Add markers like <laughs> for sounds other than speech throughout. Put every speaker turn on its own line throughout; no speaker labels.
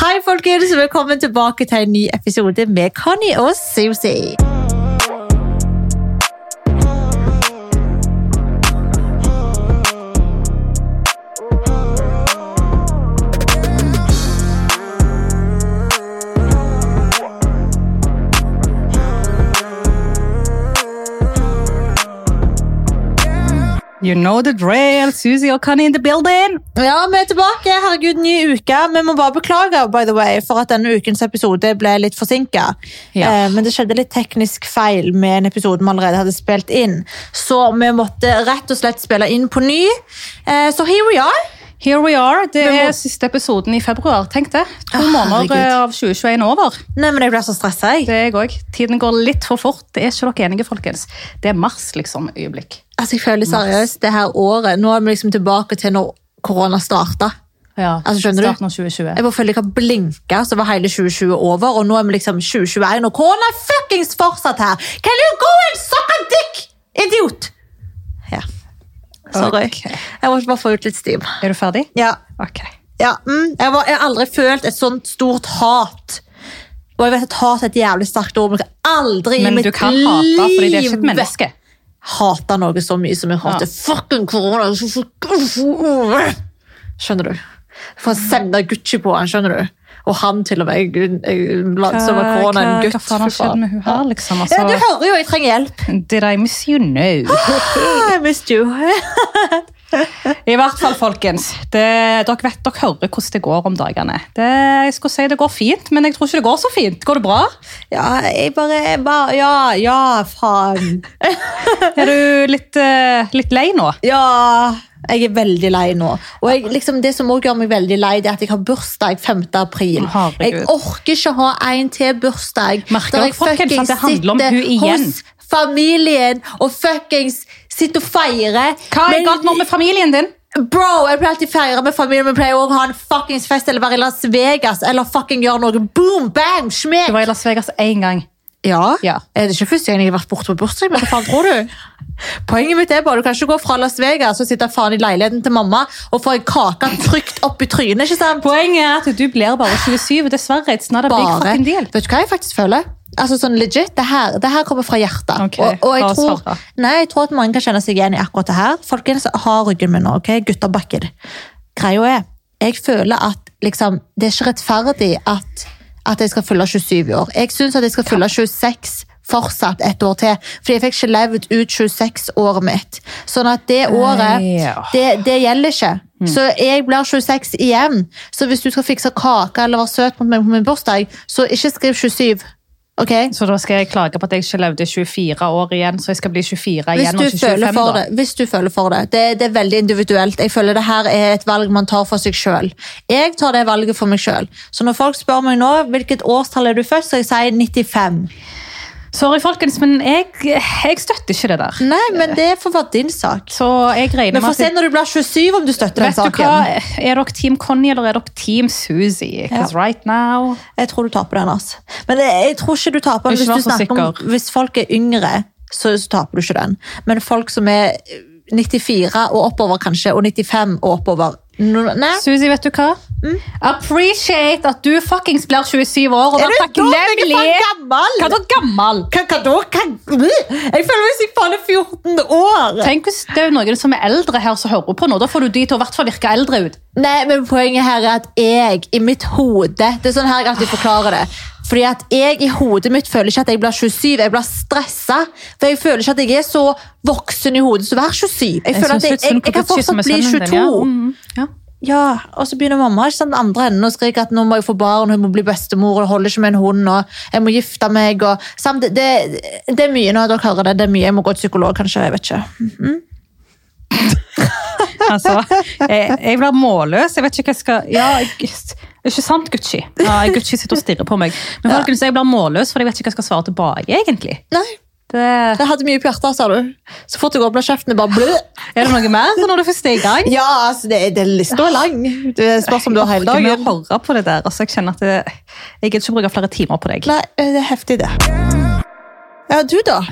Hei, folkens! Velkommen tilbake til en ny episode med Conny og Susi.
You know the drill. Susie og Connie in the building.
Ja, vi er tilbake. Herregud, ny uke. Vi må bare beklage by the way, for at denne ukens episode ble litt forsinka.
Ja.
Eh, men det skjedde litt teknisk feil med en episode vi allerede hadde spilt inn. Så vi måtte rett og slett spille inn på ny. Eh, så here we are.
Here we are. Det
Vi må-
er siste episoden i februar. Tenk det. To
Ah,
måneder
herregud.
eh, av 2021 over.
Nei, men jeg blir så stressa, jeg.
Det er jeg òg. Tiden går litt for fort. Det er ikke dere enige, folkens. Det er mars, liksom. Øyeblikk.
Altså, jeg føler seriøst det her året. Nå er vi liksom tilbake til når korona starta.
Ja,
Altså, skjønner du?
Starten av 2020.
Jeg bare føler jeg har blinka, så var hele 2020 over, og nå er vi liksom 2021, og korona er fuckings fortsatt her! Can you go and suck a dick, idiot? Ja. Sorry.
Ok.
Jeg måtte bare få ut litt stim.
Er du ferdig?
Ja.
Ok.
ja mm, jeg, var, jeg har aldri følt et sånt stort hat. Og jeg vet at hat er et jævlig sterkt ord, men jeg kan aldri i
Men
mitt
du kan hate, fordi det er ikke et
liv
menneske.
hate noe så mye som jeg hater fucking korona. så- så- så- Skjønner du? Jeg får
Mm.
sende Gucci på han, skjønner du? Og han til og med. Jeg, jeg, la- så var korona en gutt.
Eh, hva faen har
fy faen.
skjedd med hun her, liksom?
Ja, du
Altså,
hører jo, jeg trenger
<gasps>
hjelp. Ah,
did I miss you now?
I missed you. <laughs>
I hvert fall, folkens. Det, dere vet, dere hører hvordan det går om dagene. Det, jeg skulle si det går fint, men jeg tror ikke det går så fint. Går det bra?
Ja, jeg bare, jeg bare Ja, ja, faen.
Er du litt, eh, litt lei nå?
Ja, jeg er veldig lei nå. Og jeg, liksom, det som også gjør meg veldig lei, det er at jeg har bursdag 5. april.
Herregud.
Jeg orker ikke ha en til bursdag.
Merker
der jeg
dere, folkens, at
fuckings
det handler om
sitter
hun igjen?
Hos familien og fuckings sitter og feirer.
Hva er
Men-
galt nå med familien din?
Bro, jeg pleier alltid å feire med familien, men pleier også å ha en fuckings fest eller være i Las Vegas eller fucking gjøre noe. Boom, bang,
Du
smek!
var i Las Vegas én gang.
Ja.
Ja.
Er det ikke første gang jeg har vært borte på bursdag? Men hva faen tror du? <laughs> Poenget mitt er bare, du kan ikke gå fra Las Vegas og sitte faen i leiligheten til mamma og få en kake trygt opp i trynet, ikke sant?
Poenget er at du blir bare 27. Dessverre. It's not a big
Bare.
fucking deal.
Vet du hva jeg faktisk føler? Altså sånn legit, Det her, det her kommer fra hjertet.
Ok,
og, og
la
jeg,
oss høre.
tror, nei, jeg tror at mange kan kjenne seg igjen i akkurat det her. Folkens, ha ryggen min nå. ok? Gutter bakker. Greia er, jeg føler at liksom, det er ikke rettferdig at, at jeg skal fylle 27 år. Jeg syns at jeg skal fylle 26 fortsatt et år til, fordi jeg fikk ikke levd ut 26-året mitt. Sånn at det året,
Ja.
det, det gjelder ikke.
Mm.
Så jeg blir 26 igjen. Så hvis du skal fikse kake eller være søt mot meg på min bursdag, så ikke skriv 27. Ok?
Så da skal jeg klage på at jeg ikke levde 24 år igjen, så jeg skal bli 24
Hvis
igjen
du,
og ikke
føler
25
for
da.
det, hvis du føler for det. det. Det er veldig individuelt. Jeg føler det her er et valg man tar for seg sjøl. Jeg tar det valget for meg sjøl. Så når folk spør meg nå hvilket årstall er du født, så jeg sier 95.
Sorry, folkens, men jeg, jeg støtter ikke det der.
Nei, men det får være din sak.
Så jeg regner
Vi får
med
se
at
når du blir 27 om du støtter den
Vet du hva?
saken.
Er dere Team Conny eller er dere Team Susie? Because right now
Jeg tror du taper den. altså. Men jeg, jeg tror ikke du taper den
Ikke
hvis, du
vær så
snakker om,
sikker.
hvis folk er yngre, så, så taper du ikke den. Men folk som er 94 og oppover kanskje, og 95 og oppover nå- Nei.
Susie, vet du hva?
Mm.
Appreciate at du fuckings blir 27 år og
Er
vær
du dum? Jeg er
takknemlig.
faen gammel!
Hva er du gammel?
Hva, hva da? Hva? Jeg føler meg som faen er 14 år!
Tenk hvis det er noen som er eldre her som hører på nå. Da får du de til å i hvert fall virke eldre ut.
Nei, men Poenget her er at jeg i mitt hode Det er sånn her jeg alltid forklarer det. Fordi at jeg i hodet mitt føler ikke at jeg blir 27, jeg blir stressa. For jeg føler ikke at jeg er så voksen i hodet, så vær 27. Jeg føler at jeg, jeg, jeg kan fortsatt bli 22.
Mm, Ja.
Ja, Og så begynner mamma ikke sant, andre enden og skriker at nå må jeg få barn, hun må bli bestemor, og det holder ikke med en hund, og jeg må gifte meg og sant, det, det, det er mye når dere hører det. Det er mye. Jeg må gå til psykolog, kanskje. Jeg vet ikke.
<laughs> Altså, jeg, jeg blir målløs. Jeg vet ikke hva jeg skal ja, jeg- Ikke sant, Gucci? Ja, Gucci sitter og stirrer på meg. Men folkens, jeg blir målløs, for jeg vet ikke hva jeg skal svare tilbake, egentlig.
Nei,
Det,
Jeg hadde mye på hjertet, sa du. Så fort det går opp av kjeften, det bare blø.
er det noe mer når du først er i gang?
Ja, altså, det, det lista er lang. Det spørs om du har hele
Jeg
dagen.
orker ikke mer å høre på det der. Altså, jeg kjenner at det, jeg gidder ikke bruke flere timer på deg.
Nei, eh, det er heftig, det. Ja, du da?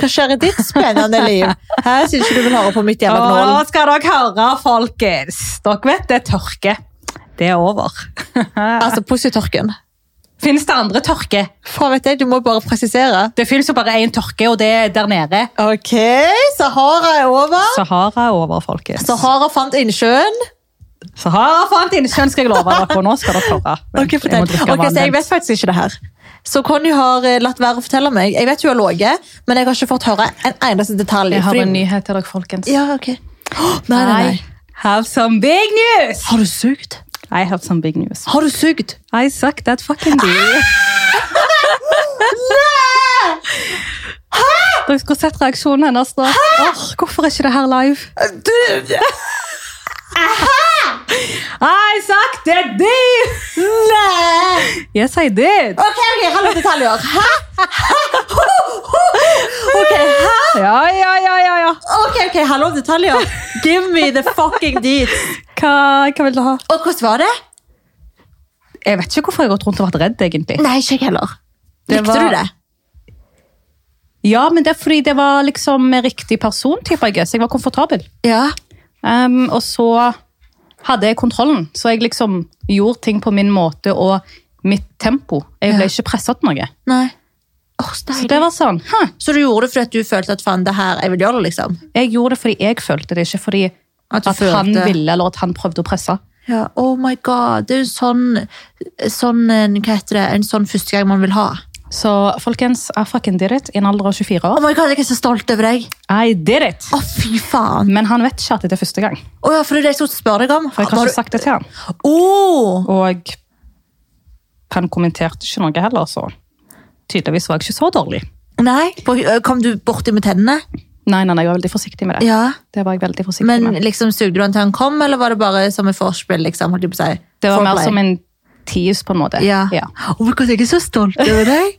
Hva skjer i ditt spennende liv? Her syns ikke du vil høre på mitt
Nå
hjemmeknål.
skal dere høre, folkens. Dere vet det er tørke. Det er over. <laughs>
Altså pussitørken.
Fins det andre tørke?
Faen vet jeg, du må bare presisere.
Det fins jo bare én tørke, og det er der nede.
Ok, Sahara er over.
Sahara er over, folkens.
Sahara fant innsjøen.
Sahara fant innsjøen, skal jeg love dere. Nå skal dere høre. <laughs> Vent,
Ok,
jeg
fortell.
må drikke
Ok,
vann.
så jeg vet faktisk ikke det her. Så Conny har eh, latt være å fortelle meg. Jeg vet jo hun har ligget, men jeg har ikke fått høre en eneste detalj.
Jeg har
fordi-
en nyhet til dere, folkens.
Ja, ok. Åh, nei, nei, nei.
Have some big news!
Har du sugd?
I have some big news.
Har du sugd?
I suck that fucking dick. Dere skulle sett reaksjonen hennes. da. Åh, hvorfor er ikke det her live? I suck that dick!
Nei!
Yes, I did.
Ok, ok, halve detaljer. Hæ? Ok, hæ?
Ja, ja, ja, ja, ja.
Ok, ok, halve detaljer. Give me the fucking deeds.
Hva, hva vil du ha?
Og hvordan var det?
Jeg vet ikke hvorfor jeg har gått rundt og vært redd, egentlig.
Nei, ikke jeg heller.
Det
Likte
var-
du det?
Ja, men det er fordi det var liksom riktig person, type, jeg guess. Jeg var komfortabel.
Ja.
Ehm, og så hadde jeg kontrollen, så jeg liksom gjorde ting på min måte og mitt tempo. Jeg ble
Ja.
ikke presset til noe.
Nei. Åh,
Så
så,
det var sånn, «Hæ,
så du gjorde det fordi at du følte at faen, det her, jeg vil gjøre det, liksom?
jeg gjorde det fordi jeg følte det, ikke fordi
At
at,
du
han
følte-
ville eller at han prøvde å presse.
Ja, oh my god. Det er jo sånn, sånn en- Hva heter det? En sånn første gang man vil ha.
Så folkens, I fucking did it i en alder av 24
Oh
år.
my god, Jeg er så stolt over deg!
I did it!
Å, fy faen!
Men han vet ikke at det er første gang,
Å ja, for det er det jeg skulle spørre deg om.
for jeg har
Var
ikke sagt det til han.
du... Åh!
Og han kommenterte ikke noe heller, så tydeligvis var jeg ikke så dårlig.
Nei, på- Kom du borti med tennene?
Nei, nei, nei, jeg var veldig forsiktig med det.
Ja.
Det var jeg veldig forsiktig med.
Men liksom, sugde du den til han kom, eller var det bare som et forspill? Liksom, holdt jeg på å si?
Det var mer
Foreplay.
som en tius, på en måte.
ja. Oh my god, jeg er så stolt over deg!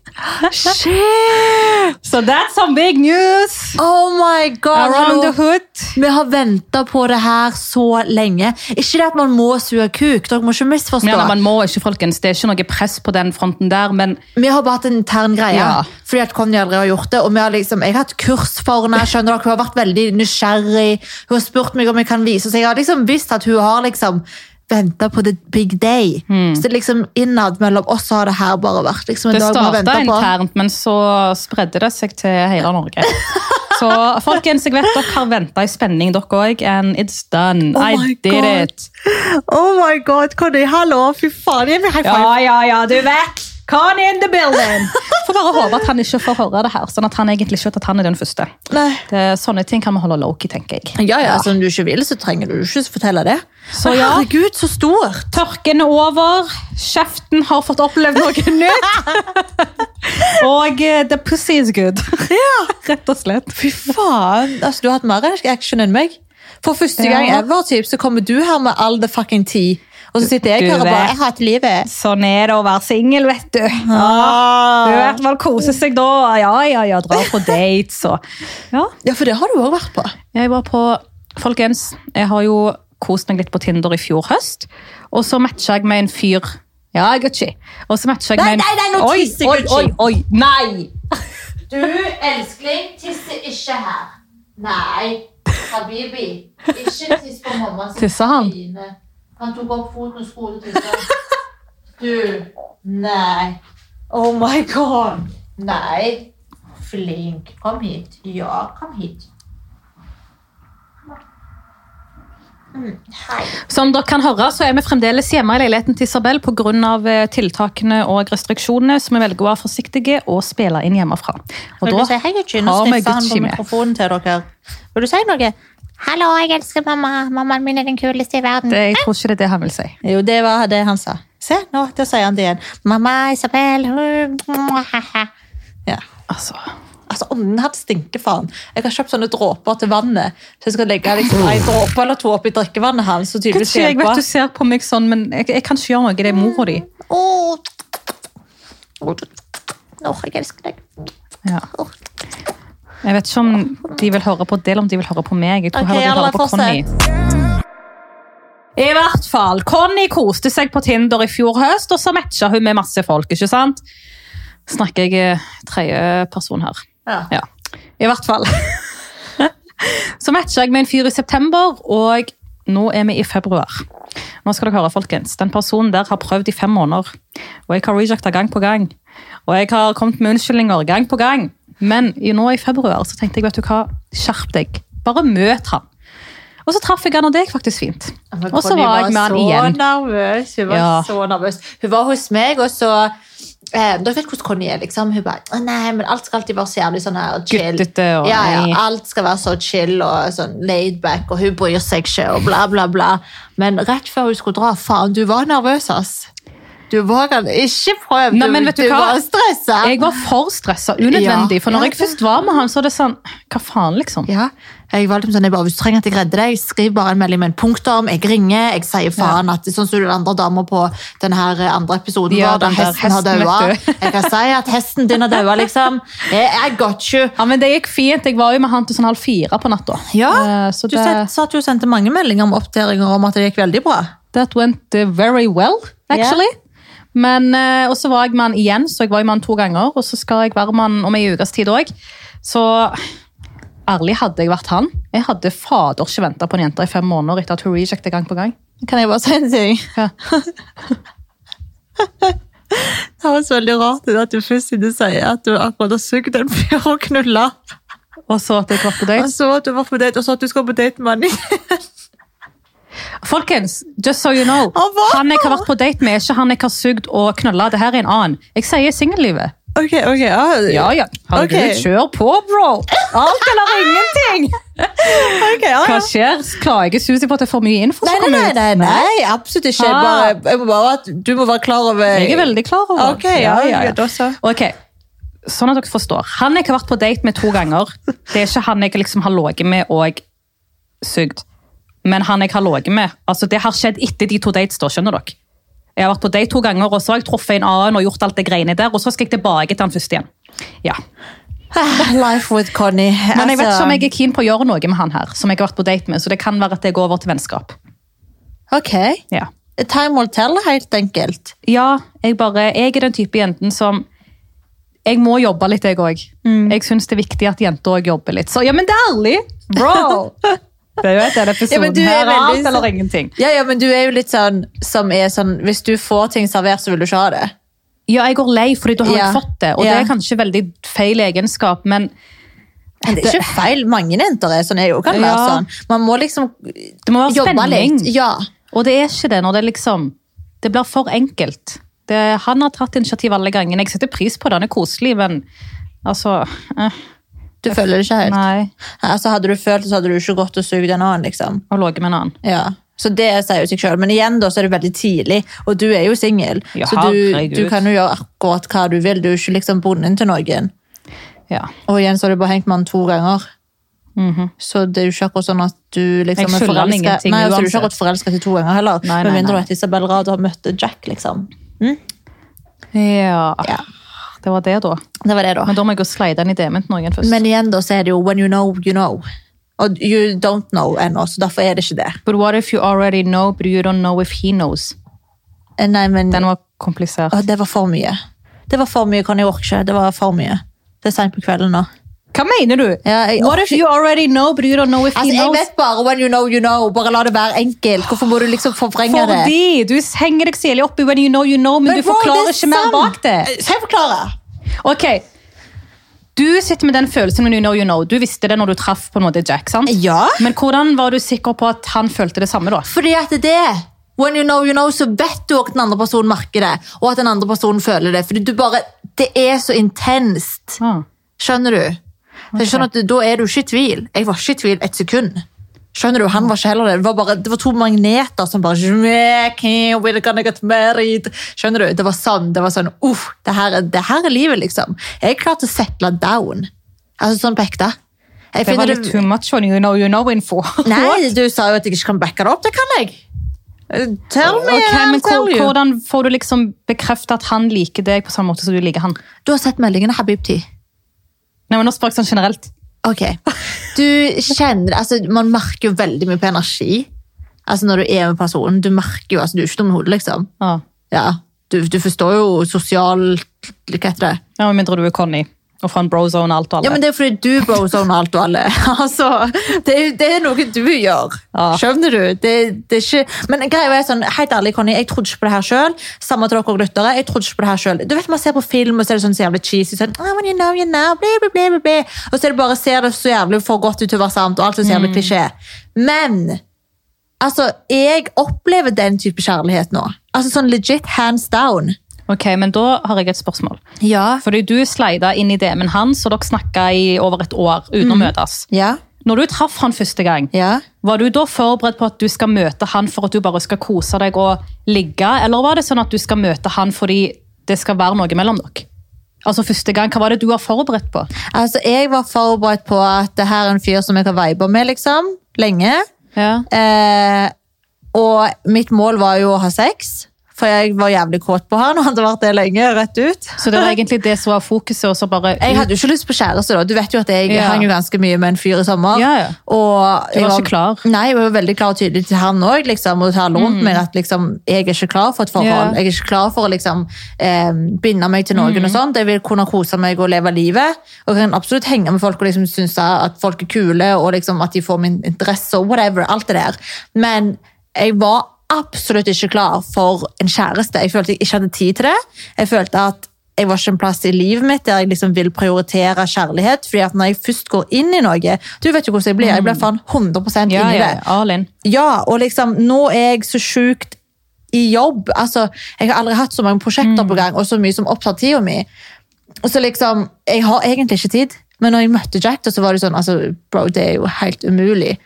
Shit!
So that's some big news
<laughs> Oh my god!
around the
hallo.
hood.
Vi har venta på det her så lenge. Ikke det at man må suge kuk, dere må ikke misforstå.
Men man må ikke, folkens. Det er ikke noe press på den fronten der, men
Vi har bare hatt en intern greie,
Ja.
fordi at Conny aldri har gjort det. Og vi har liksom, jeg har hatt kurs for henne, skjønner dere. Hun har vært veldig nysgjerrig. Hun har spurt meg om jeg kan vise, så jeg har liksom visst at hun har liksom venta på the big day. Så det er liksom innad mellom oss så har det her bare vært liksom en
Hmm.
dag
det
vi har
starta
ventet på.
internt, men så spredde det seg til hele <laughs> Norge. Så folkens, jeg vet dere har venta i spenning, dere òg, and it's done.
Oh my
I did
God.
it.
Oh my god, Conny, hallo! Fy faen, jeg vil high five.
Ja, ja, ja, du vet. Con in the building. Får bare håpe at han ikke får høre det her, sånn at han egentlig ikke vet at han er den første.
Nei.
Det, sånne ting kan vi holde low-key, tenker jeg.
Ja, ja, altså, Om du ikke vil, så trenger du ikke fortelle det.
Så
Men
ja.
Herregud, så stort!
Tørken er over, kjeften har fått opplevd <laughs> noe nytt. Og eh, the pussy is good. <laughs> Rett og slett.
Fy faen, altså, du har hatt mer action enn meg. For første
Ja.
gang ever typ, så kommer du her med all the fucking tea. Og så sitter jeg
Du
her og
vet.
bare Jeg hater livet.
Sånn er det å være singel, vet du.
Ah.
Du vet man koser seg da. Ja, ja, ja, drar på dates og Ja.
Ja, for det har du òg vært på.
Jeg var på Folkens, jeg har jo kost meg litt på Tinder i fjor høst, og så matcha jeg med en fyr. Ja, Gucci. Og så matcha jeg
Nei,
med en
nei, nei, nå tisser
Oi,
Gucci.
oi, oi, oi, nei!
Du, elskling, tisser ikke her. Nei, habibi. Ikke tiss på mamma sin
Tisser han?
Han tok opp foten og skulle tisse. Du, nei. Oh my god. Nei. Flink. Kom hit. Ja, kom hit. Hei.
Som dere kan høre, så er vi fremdeles hjemme i leiligheten til Isabel pga. eh, tiltakene og restriksjonene, så vi velger å være forsiktige og spille inn hjemmefra. Og
Vil du si
da,
hei, Gucci? Nå
har vi
sniffer han
Gucci
på
med.
mikrofonen til dere. Vil du si noe?
Hallo, jeg elsker mamma. Mammaen min er den kuleste i verden.
det, jeg tror ikke det er det han vil si.
Jo, det var det han sa. Se, nå der sier han det igjen.
Mamma Isabel,
<laughs>
hun
Ja.
Altså,
Altså, Ånden her stinker, faen. Jeg har kjøpt sånne dråper til vannet. Så jeg skal legge liksom, en dråpe eller to oppi drikkevannet hans. Så tydelig
Gucci, jeg vet du ser på meg sånn, men jeg, jeg kan ikke gjøre noe. Det er mora di.
Åh, jeg elsker deg.
Ja. Jeg vet ikke om de vil høre på det, eller om de vil høre på meg. Jeg tror
Ok,
heller de
alle
hører på Conny.
fortsett.
I hvert fall, Conny koste seg på Tinder i fjor høst, og så matcha hun med masse folk. ikke sant? Snakker jeg eh, tredje person her.
Ja.
Ja, i hvert fall. <laughs> så matcha jeg med en fyr i september, og nå er vi i februar. Nå skal dere høre, folkens. Den personen der har prøvd i fem måneder. Og jeg har rejecta gang på gang. Og jeg har kommet med unnskyldninger gang på gang. Men i- nå i februar så tenkte jeg, vet du hva, skjerp deg. Bare møt han. Og så traff jeg han, og det gikk faktisk fint. Og så var jeg med han igjen.
Nervøs. Hun var
Ja.
så nervøs. Hun var hos meg, og så eh, Dere vet hvordan Conny er. liksom. Hun bare «Å, Nei, men alt skal alltid være så jævlig sånn her chill.
Guttete og
ja, ja,
nei.
alt skal være så chill og sånn laid back, og hun bryr seg ikke, og bla, bla, bla. Men rett før hun skulle dra, faen, du var nervøs, ass. Du var gan- ikke prøvd.
Nei, men vet du hva?
var stressa.
Jeg var for stressa, unødvendig. For
Ja,
når
ja,
jeg først var med han, så er det sånn Hva faen, liksom?
Ja, jeg var liksom sånn, jeg bare, hvis du trenger at jeg redder deg, skriv bare en melding med en punktum, jeg ringer, jeg sier faen at det er sånn som den andre damer på den her eh, andre episoden
Ja,
var, der
den der
hesten har
hesten,
daua.
vet du.
Jeg kan si at hesten din har daua, liksom. Jeg, I got you.
Ja, men Det gikk fint. Jeg var jo med han til sånn halv fire på natta.
Ja,
Eh, så
du
det,
sen- sa at du sendte mange meldinger om oppdateringer om at det gikk veldig bra.
That went uh, very well, actually. Men, eh, og så var jeg med han igjen, så jeg var jo med han to ganger. Og så skal jeg være med han om ei ukes tid òg. Så ærlig hadde jeg vært han. Jeg hadde fader ikke venta på en jente i fem måneder etter at hun rejecta gang på gang.
Kan jeg bare si en ting?
Ja.
<laughs> Det høres veldig rart ut at du først sitter og sier at du akkurat har sugd en fyr og knulla,
Og så at jeg var på
<laughs>
date.
og så at du var på date, og så at du skal på date med han.
Folkens, just so you know.
Å, hva?
Han jeg har vært på date med, er ikke han jeg har sugd og knulla. Det her er en annen. Jeg sier singellivet.
Ok, ok, ja.
Ja, ja. Herregud,
Ok.
kjør på, bro! Alt eller ingenting!
<laughs> Ok, ja,
Hva skjer? Klager jeg Susi på at det er for mye info? som
Nei, nei,
kommer
nei,
ut?
nei, nei absolutt ikke.
Ah.
Bare, jeg må bare at du må være klar over
Jeg er veldig klar over
Ok, ja, jeg vet også.
Ok, Sånn at dere forstår. Han jeg har vært på date med to ganger, det er ikke han jeg liksom har ligget med og sugd. Men han jeg har ligget med. Altså, det har skjedd etter de to dates. da, skjønner dere? Jeg har vært på date to ganger, og så har jeg truffet en annen og gjort alt det greiene der, og så skal jeg tilbake til han først igjen. Ja.
Ah, <laughs> Life with Connie.
Men jeg vet
altså.
ikke om jeg er keen på å gjøre noe med han her, som jeg har vært på date med, så det kan være at det går over til vennskap.
Ok.
Ja.
Time will tell, helt enkelt.
Ja, jeg bare Jeg er den type jenten som Jeg må jobbe litt, jeg òg. Jeg syns det er viktig at jenter òg jobber litt. Så ja, men det er ærlig! Bro! <laughs> Det er jo etter denne
Ja,
episoden
men du er
her er
veldig
alt eller ingenting.
Ja, ja, men du er jo litt sånn som er sånn Hvis du får ting servert, så vil du ikke ha det.
Ja, jeg går lei fordi du har
Ja.
ikke fått det, og det
Ja.
er kanskje veldig feil egenskap, men
Men det er ikke feil. Mange jenter er sånn. Jeg jo kan være
Ja.
sånn. Man må liksom
det må være
jobbe
spenning.
litt. Ja.
Og det er ikke det når det liksom Det blir for enkelt. Det, han har tatt initiativ alle gangene. Jeg setter pris på det, han er koselig, men altså eh,
Du føler det ikke helt.
Nei.
Altså, hadde du følt det, så hadde du ikke gått og sugd en annen, liksom.
Å ligge med en annen.
Ja, så det sier jo seg selv. Men igjen da, så er det veldig tidlig, og du er jo singel.
Ja,
så du,
herregud.
du kan jo gjøre akkurat hva du vil, du er ikke liksom bonden til noen.
Ja.
Og igjen så har du bare hengt med han to ganger. Så det er jo ikke akkurat sånn at du
Mhm. Jeg
liksom er
skylder han
forelsket.
ingenting
Nei, altså, du er
uansett.
ikke akkurat forelsket til to ganger heller.
Nei, nei,
Med mindre du
nei.
heter Isabel Rad og møtte Jack, liksom.
Ja.
Ja.
Det var det, da.
Det var det da.
Men da må jeg gå og slide en idé med til noen først.
Men igjen da, så er det jo when you know, you know. Og you don't know ennå, så derfor er det ikke det.
But what if you already know, but you don't know if he knows?
Eh, Nei, men...
Den var komplisert.
Å, det var for mye. Det var for mye, Conny Workshe. Det var for mye. Det er sent på kvelden nå.
Hva mener du?
Ja, jeg
what if you already know, but you don't know if
Altså,
he
jeg
knows?
vet bare when you know, you know. Bare la det være enkelt. Hvorfor må du liksom forvrenge det?
Fordi du henger deg så jævlig opp i when you know you know, men,
Men
du
bro,
forklarer
det er
ikke mer
sant. Eh,
bak det.
Skal jeg forklare?
Ok, du sitter med den følelsen when you know you know. Du visste det når du traff på en måte Jack, sant?
Ja.
Men hvordan var du sikker på at han følte det samme da?
Fordi at det er When you know, you know, så vet du at den andre personen merker det. Og at den andre personen føler det. Fordi du bare Det er så intenst.
Ah.
Skjønner du? Det er sånn at Da er du ikke i tvil. Jeg var ikke i tvil et sekund. Skjønner du, Han var ikke heller det. Det var, bare, det var to magneter som bare We're gonna get married. Skjønner du? Det var sånn. Det var sånn, uff, det her, er- det her er livet, liksom. Jeg er klar til å settle down. Altså sånn på ekte. Jeg
Det
finner
var litt too much when you know you know info. <laughs>
Nei, du sa jo at jeg ikke kan backe det opp. Det kan jeg. Eh, Tell me,
Ok,
I'll
men
tell
hvor,
you.
Hvordan får du liksom bekreftet at han liker deg på samme måte som du liker han?
Du har sett meldingene, Habibti.
Nei, men nå spør jeg sånn generelt.
Ok. Du kjenner altså, Man merker jo veldig mye på energi. Altså Når du er med personen. Du merker jo, altså du er ikke dum i hodet, liksom.
Ja,
Ja, du, du forstår jo sosialt Hva heter det?
ja Med mindre du er Conny. Og fra en brozone og alt og alle.
Ja, men det er fordi du brozoner alt og alle. <laughs> altså, det, er, jo- det er noe du gjør.
Ja.
Skjønner du? Det, det er ikke... Men greia er sånn, helt ærlig, Conny, jeg trodde ikke på det her sjøl. Samme til dere lyttere. jeg trodde ikke på det her selv. Du vet, Man ser på film, og så er det sånn så jævlig cheesy. sånn, ah, when you know, you know, bli, bli, bli, bli, bli. Og så er det bare ser det så jævlig for godt ut til å være sant, og alt er så jævlig klisjé. Men altså, jeg opplever den type kjærlighet nå. Altså sånn legit hands down.
Ok, men da har jeg et spørsmål.
Ja.
Fordi du sleida inn i DM-en hans, og dere snakka i over et år uten å
Mhm.
møtes.
Ja.
Når du traff han første gang,
Ja.
var du da forberedt på at du skal møte han for at du bare skal kose deg og ligge, eller var det sånn at du skal møte han fordi det skal være noe mellom dere? Altså første gang, Hva var det du var forberedt på?
Altså, jeg var forberedt på at det her er en fyr som jeg har vibe med, liksom. Lenge.
Ja.
Eh, og mitt mål var jo å ha sex. For jeg var jævlig kåt på han, og han hadde vært det lenge, rett ut.
Så det var egentlig det som var fokuset, og så bare
Jeg hadde jo ikke lyst på kjæreste, da. Du vet jo at jeg
Ja.
hang jo ganske mye med en fyr i sommer.
Ja, ja.
Og
Du var ikke klar.
Nei, jeg var jo veldig klar og tydelig til han òg, liksom, og til alle rundt meg, at liksom, jeg er ikke klar for et forhold.
Ja.
Jeg er ikke klar for å liksom, eh, binde meg til noen og sånt. Jeg vil kunne kose meg og leve livet. Og jeg kan absolutt henge med folk og liksom, synes at folk er kule, og liksom, at de får min interesse og whatever. Alt det der. Men jeg var absolutt ikke klar for en kjæreste. Jeg følte jeg ikke hadde tid til det. Jeg følte at jeg var ikke en plass i livet mitt der jeg liksom vil prioritere kjærlighet. fordi at når jeg først går inn i noe Du vet jo hvordan jeg blir. Jeg blir faen 100
ja,
inni
ja,
det.
Arlin.
Ja, og liksom, nå er jeg så sjukt i jobb. Altså, jeg har aldri hatt så mange prosjekter
Mm.
på gang, og så mye som opptar tida mi. Og så liksom, jeg har egentlig ikke tid. Men når jeg møtte Jack, da, så var det sånn, altså, bro, det er jo helt umulig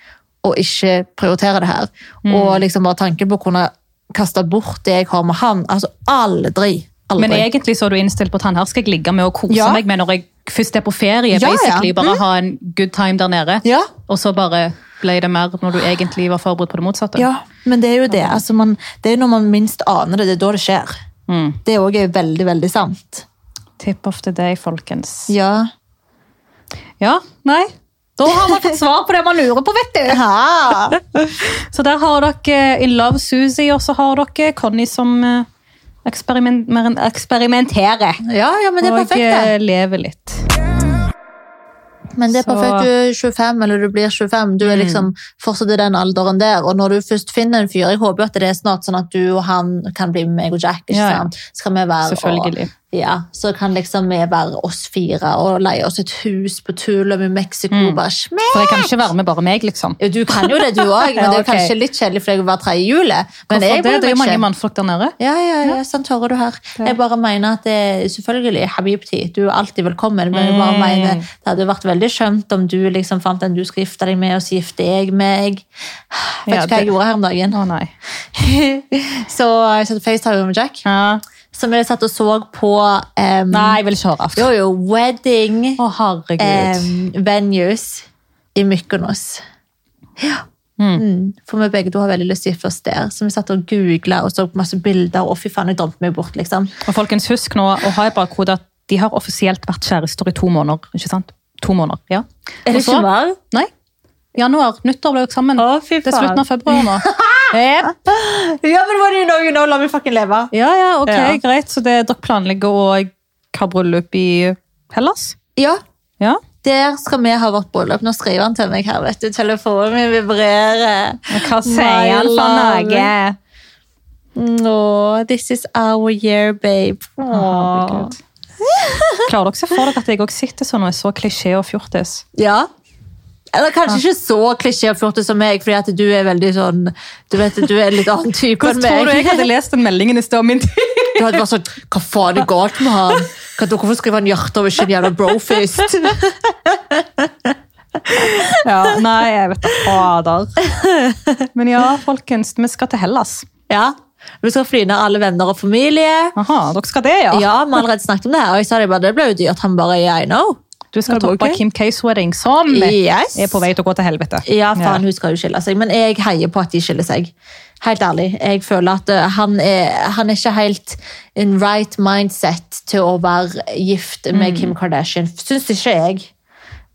å ikke prioritere det her.
Mm.
Og liksom bare tanken på å kunne kaste bort det jeg har med han, altså aldri. aldri.
Men egentlig så er du innstilt på at han her skal jeg ligge med og kose
Ja.
meg med når jeg først er på ferie.
Ja, ja.
basically, Bare ha en good time der nede.
Ja.
Og så bare ble det mer når du egentlig var forberedt på det motsatte.
Ja, men det er jo det. Altså man, det er jo når man minst aner det, det er da det skjer. Det òg er jo veldig, veldig sant.
Mm. Tip of the day, folkens.
Ja.
Ja, nei. Da har man fått svar på det man lurer på, vet du.
Ha!
Så der har dere In Love Susie, og så har dere Conny som eh, eksperiment, mer enn eksperimenterer.
Ja, ja, men det er
og
perfekt, det.
eh, lever litt.
Men det er
så- Mm.
perfekt. Du er 25, eller du blir 25. Du er liksom fortsatt i den alderen der. Og når du først finner en fyr Jeg håper jo at det er snart sånn at du og han kan bli med meg og Jack. ikke
Ja, ja.
sant? Skal vi være
Selvfølgelig.
Og, ja, Så kan liksom vi være oss fire og leie oss et hus på Tulum i Mexico.
Mm.
bare smekk!
For jeg kan ikke være med bare meg, liksom.
Jo, du kan jo det, du
<laughs>
òg, men
Ja,
det er jo
ok.
kanskje litt kjedelig for deg å være tre i hjulet. Men
Hvorfor
jeg
det?
bryr
Det er jo
meg
mange
ikke.
mannfolk der nede.
Ja, ja, ja, sant hører du her. Jeg bare mener at det, selvfølgelig, Habibti, du er alltid velkommen, men jeg bare mener det hadde jo vært veldig skjønt om du liksom fant en du skal gifte deg med, og så gifter jeg meg. Vet du
Ja,
hva jeg
det-
gjorde her om dagen?
Å nei.
Så jeg satt FaceTime med Jack,
Ja.
som jeg satt og så på em,
Nei, jeg vil ikke høre.
jo, jo, wedding
Å, herregud.
em, venues i Mykonos. Ja. Mm. For vi begge to har veldig lyst til å gifte oss der. Så vi satt og googla og så på masse bilder, og fy faen, jeg drømte meg bort, liksom.
Og folkens, husk nå å ha i bakhodet at de har offisielt vært kjærester i to måneder. ikke sant? To måneder, ja.
Er det
Og så-
ikke mer?
Nei. Januar. Nyttår ble dere sammen.
Å, fy
Det er
faen.
slutten av februar <laughs> nå. Jep.
Ja, men what do you know, you know, la meg fucking leve.
Ja, ja, ok,
Ja.
greit. Så det, dere planlegger å ha bryllup i Hellas?
Ja,
Ja.
der skal vi ha vårt bryllup. Nå skriver han til meg her, vet du. Telefonen min vibrerer.
Og hva
My
sier han for
love.
noe?
Nå, this is our year, babe. Åh.
Herregud. Klarer dere å se for dere at jeg også sitter sånn og er så klisjé og fjortis?
Ja. Eller kanskje ikke så klisjéfjorte som meg, fordi at du er veldig sånn Du vet, du er en litt annen type enn
Hvordan
meg.
tror du jeg hadde lest den meldingen i sted om min tid?
Du hadde vært sånn Hva faen er galt med han? Kan dere få skrive en hjerte over ikke en jævla brofist?
<laughs>
<laughs>
Ja, nei, jeg vet da fader. <laughs> Men ja, folkens, vi skal til Hellas.
Ja. Vi skal flyne alle venner og familie.
Aha, dere skal det, ja?
Ja, vi har allerede snakket om det her, og jeg sa det bare, det ble jo dyrt. Han bare, yeah, I know.
Du skal
Er det
toppe
ok?
Kim K's wedding, som
Yes.
er på vei til å gå til helvete.
Ja, faen, hun skal jo skille seg, men jeg heier på at de skiller seg. Helt ærlig, jeg føler at eh, han er, han er ikke helt in right mindset til å være gift med Kim Kardashian. Syns ikke jeg.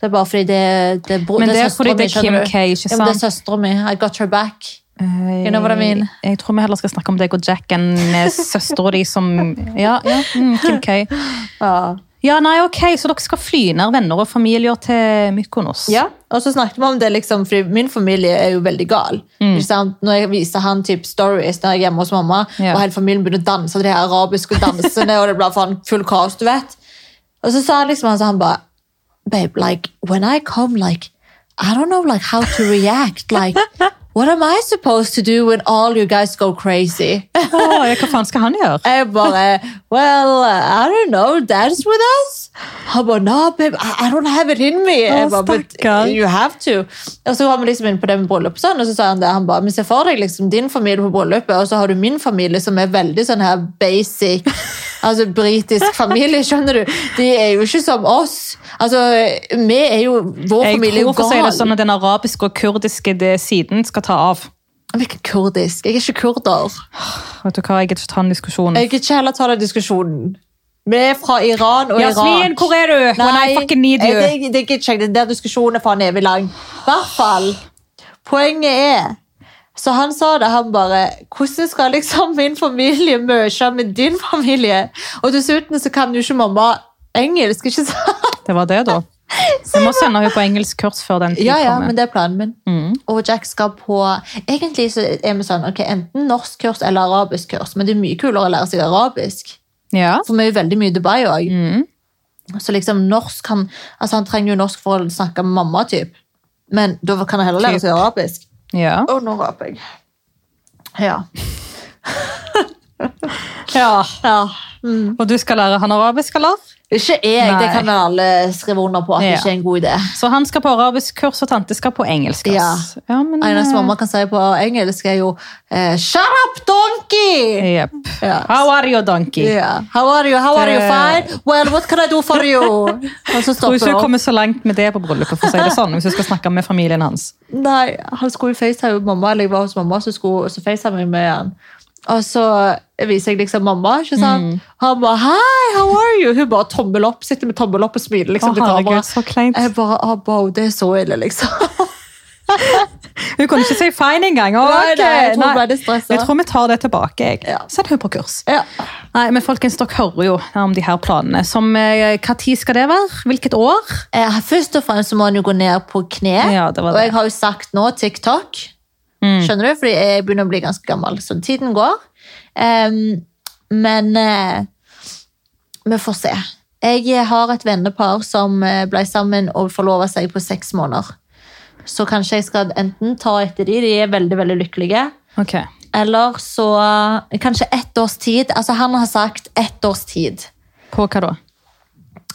Det er bare fordi det, det, bro,
Men det er
søsteren
fordi det er
min, skjønner
Kim K,
du?
ikke
Ja, men det er
sant?
søsteren min. I got her back.
Eh,
You know what I mean?
Jeg tror vi heller skal <laughs> snakke om deg og Jack enn eh, søstera di som Ja, ja mm, Kim K.
Ja.
Ja, nei, ok, Så dere skal fly ned venner og familier til Mykonos?
Ja, og så snakket vi om det, liksom, fordi min familie er jo veldig gal. Ikke sant? Når jeg viser han typ stories når jeg er hjemme hos mamma,
Ja.
og hele familien begynner å danse til de her arabiske dansene, og det blir faen full kaos, du vet. Og så sa liksom han så han bare, babe, like, when I come, like, I don't know, like, how to react, like, what am I supposed to do when all you guys go crazy?
Å, ja, hva faen skal han
<laughs>
gjøre?
Jeg bare Well, I don't know. Dance with us? Han bare No, babe, I, I don't have it in me. Jeg bare, But
stakkar.
you have to. Og så var vi liksom inn på det med bryllup, og sånn, og så sa han det. Han bare Men se for deg liksom din familie på bryllupet, og så har du min familie som er veldig sånn her basic <laughs> Altså britisk familie, skjønner du. De er jo ikke som oss. Altså, vi er jo Vår
Jeg
familie er jo
tror for å si
gal.
det sånn at den arabiske og kurdiske det siden skal ta av.
Hvilken kurdisk? Jeg er ikke kurder.
Vet du hva, Jeg gidder ikke ta den diskusjonen.
Jeg kan ikke heller ta den diskusjonen. Vi er fra Iran og
Jasmin,
Irak.
hvor er du? When I fucking need you.
jeg- Det, det gidder ikke jeg. Den der diskusjonen er faen evig lang. I hvert fall. Poenget er Så han sa det, han bare Hvordan skal liksom min familie møte med din familie? Og dessuten så kan jo ikke mamma engelsk, ikke sant?
Det var det, da. Vi må sende henne på engelsk kurs før den tid
Ja, ja,
kommer.
men det er planen min. Og Jack skal på Egentlig så er vi sånn ok, enten norsk kurs eller arabisk kurs, men det er mye kulere å lære seg arabisk.
Ja.
For vi er jo veldig mye i Dubai òg.
Mm.
Så liksom norsk han, altså han trenger jo norsk for å snakke med mamma, typ. Men da kan han heller lære seg arabisk.
Ja.
Å, nå raper jeg. Ja.
ja.
ja. Mm.
Og du skal lære han arabisk, eller?
Ikke jeg, det
Nei.
kan vel alle skrive under på at det
Ja.
ikke er en god idé.
Så han skal på arabisk kurs, og tante skal på engelsk kurs.
Ja.
men...
Eneste mamma kan si på engelsk, er jo eh, Shut up, donkey!
Jep.
Ja.
eh, How are you, donkey?
Yeah. How are you? How are you
Det-
fine? Well, what can I do for
<laughs>
you? Og så
Tror ikke
stopper
du
hun.
kommer så langt med det på bryllupet, for å si det sånn, hvis du skal snakke med familien hans.
Nei, han skulle jo FaceTime med mamma, eller jeg var hos mamma, så, skulle, så FaceTime jeg med han. Og så viser jeg liksom mamma, ikke sant?
Mm.
Han bare, hei, how are you? Hun bare tommel opp, sitter med tommel opp og smiler liksom
Å,
til kamera.
herregud, så kleint.
Jeg bare, ah, bro, det er så ille, liksom.
Hun kunne ikke si fine engang. Å,
Nei,
ok,
nei, jeg tror hun
nei.
ble litt stresset.
Jeg tror vi tar det tilbake. jeg.
Ja.
Send henne på kurs.
<laughs> Ja.
Nei, men folkens, Dere hører jo om de her planene. Som, eh, hva tid skal det være? Hvilket år?
Eh, Først og fremst så må han jo gå ned på kne.
Ja, det Mm. var
Og
det.
jeg har jo sagt nå TikTok. Skjønner du? Fordi jeg begynner å bli ganske gammel, så tiden går. Em, men eh, vi får se. Jeg har et vennepar som eh, ble sammen og forlova seg på seks måneder. Så kanskje jeg skal enten ta etter de, de er veldig, veldig lykkelige.
Ok.
Eller så eh, kanskje ett års tid. Altså han har sagt ett års tid
På hva da?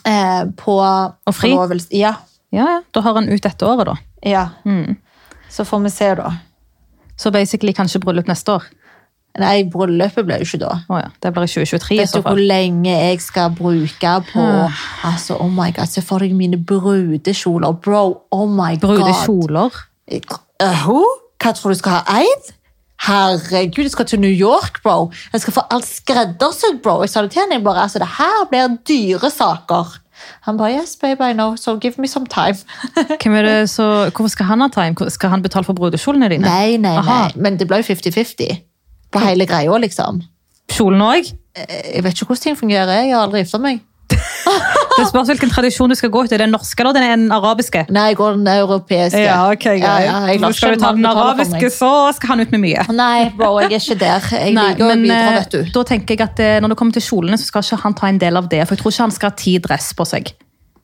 eh, på
Og fri?
forlovelse. Ja.
Ja, ja. Da har han ut dette året, da.
Ja. Så får vi se, da.
Så basically kanskje bryllup neste år.
Nei, bryllupet ble jo ikke da.
Å ja, Det blir i 2023 i
Vet
så
du hvor
fall.
lenge jeg skal bruke på Altså, oh my god, Se for deg mine brudekjoler, bro. Oh my god.
Brudekjoler.
Uh, who? Hva tror du skal ha én? Herregud, jeg skal til New York, bro. Jeg skal få alt skreddersydd, bro. Jeg sa det til henne, jeg bare, altså, det her blir dyre saker. Han bare, yes, babe, I know, so give me some time. <laughs>
Hvem er det så, hvorfor skal han ha time? Skal han betale for brudekjolene dine?
Nei, nei, nei.
Aha.
Men det ble jo 50-50 på hele greia, liksom.
Kjolen òg?
Eh, Jeg vet ikke hvordan ting fungerer. Jeg har aldri gifta meg.
Det spørs hvilken tradisjon du skal gå ut i. Den norske eller den arabiske?
Nei, jeg går den europeiske.
Ja, ok, greit.
Ja, ja, jeg lar ikke
skal du ta
en
den
mann betale for meg.
arabiske, så skal han ut med mye.
Nei, bro, jeg er ikke der. Jeg
Nei,
liker å
men,
bidra,
eh,
vet du.
Da tenker jeg at eh, Når det kommer til kjolene, så skal ikke han ta en del av det. For jeg tror ikke han skal ha ti dress på seg.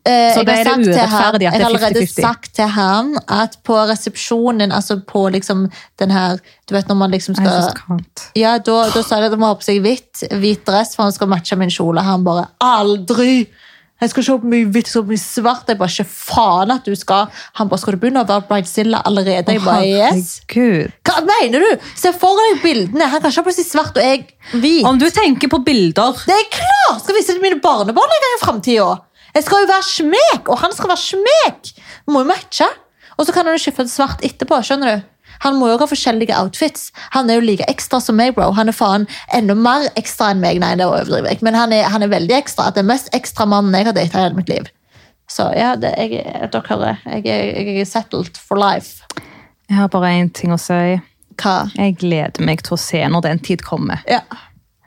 Eh,
så
jeg
da
har
er
sagt
det
til han-
urettferdig at
Jeg har
det er
allerede
50-50.
sagt til han at på resepsjonen, altså på liksom den her Du vet når man liksom
Nei, så
skal
skal han t-
Ja, da, da sa jeg at han må ha på seg hvitt hvit dress, for han skal matche min kjole. Han bare 'Aldri!' Jeg skal ikke ha på mye hvitt, jeg skal ha på mye svart. Jeg bare 'Ikke faen at du skal Han bare 'Skal du begynne å være bridezilla allerede?' Jeg bare 'Yes'.
Herregud.
Hva mener du? Se for deg bildene. Han kan ikke ha plutselig svart og jeg hvit.
Om du tenker på bilder
Det er klart! Skal vise det til mine barnebarn en gang i framtida. Jeg skal jo være smek, og han skal være smek. Vi Må jo matche. Og så kan han jo skifte til svart etterpå. skjønner du? Han må jo ha forskjellige outfits. Han er jo like ekstra som meg, bro. Han er faen enda mer ekstra enn meg. Nei, det overdriver jeg. Men han er, han er veldig ekstra. Den mest ekstra mannen jeg har data i hele mitt liv. Så ja, det, jeg, dere hører. Jeg, er- jeg er settled for life.
Jeg har bare én ting å si.
Hva?
Jeg gleder meg til å se når den tid kommer.
Ja.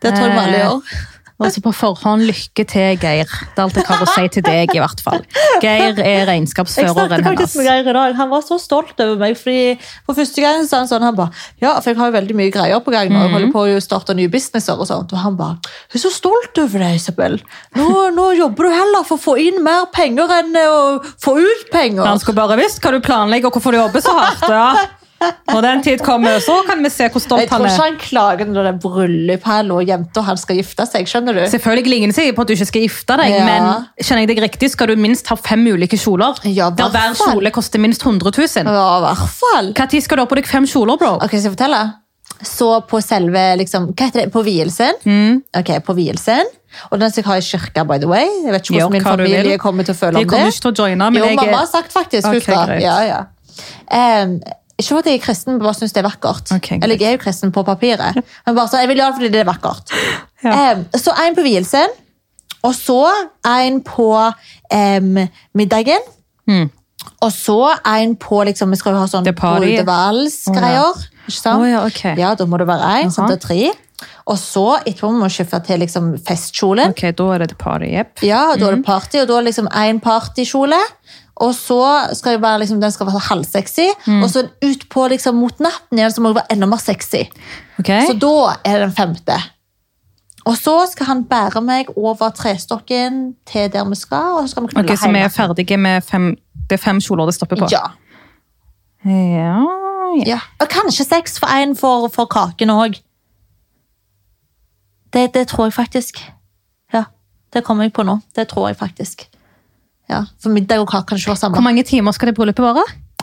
Det tror jeg vi alle
Eh,
gjør.
Og så på forhånd lykke til, Geir. Det er alt jeg har å si til deg, i hvert fall. Geir er
Jeg
regnskapsføreren
snakket faktisk
hennes.
med Geir i dag. Han var så stolt over meg. fordi For første gang sa han sånn han ba, Ja, for jeg har jo veldig mye greier på gang. Og jeg
Mhm.
holder på å jo starte nye businesser og sånt. Og han bare Jeg er så stolt over deg, Isabel. Nå, nå jobber du heller for å få inn mer penger enn eh, å få ut penger.
Han skulle bare visst hva du planlegger, og hvorfor du jobber så hardt. Ja. Når den tid kommer, så kan vi se hvor
jeg
stolt
tror
han
ikke
er.
han klager når det er bryllup her og jenter han skal gifte seg. skjønner du?
Selvfølgelig ingen sier på at du ikke skal gifte deg,
Ja.
men kjenner jeg deg riktig, skal du minst ha fem ulike kjoler.
Ja,
der hver
hvertfall.
kjole koster minst 100 000.
Ja, Altså, i hvert fall.
Hva tid skal du ha på deg fem kjoler, bro?
Ok, skal jeg fortelle? Så på selve, liksom, hva heter det, på vielsen?
Mm.
Ok, på vielsen. Og den skal jeg ha i kirka, by the way. Jeg vet ikke
Gjør
hvordan min
hva du
familie
vil.
kommer til å føle
De
om det.
kommer ikke til å joine, men
jo,
jeg er-
mamma har sagt faktisk,
Ok,
husk da.
greit.
Ja, ja. Em, ikke for at jeg er kristen, men bare synes det er vakkert.
Ok, greit.
Eller jeg er jo kristen på papiret. Men bare så, jeg vil gjøre det fordi det er vakkert.
Ja.
Em, så en på vielsen, og så en på em, middagen. Og så en på liksom, Vi skal jo ha sånn
The Mm. party.
brudevals-greier. Ikke sant?
Å ja, ok.
ja, da må det være en, sånn
Aha.
at det er tre. Og så etterpå må vi skifte til liksom, festkjolen.
Ok, Mm. da er det til party, jepp.
Ja, og da er det party, og da er det liksom en partykjole. Og så skal det være, liksom, den skal være så halvsexy,
Mm.
og så utpå liksom, mot natten igjen så må det være enda mer sexy.
Ok,
Så da er det den femte. Og så skal han bære meg over trestokken til der vi skal, og så skal vi knulle
Ok, så vi er
hjemme.
ferdige med fem, det er fem kjoler det stopper på.
Ja.
Ja, ja.
Ja. Og kanskje seks for én for, for kaken òg. Det, det tror jeg faktisk. Ja, Det kommer jeg på nå. Det tror jeg faktisk. Ja, For middag og kake kan ikke være
Hvor
sammen.
mange timer skal det bryllupet vare?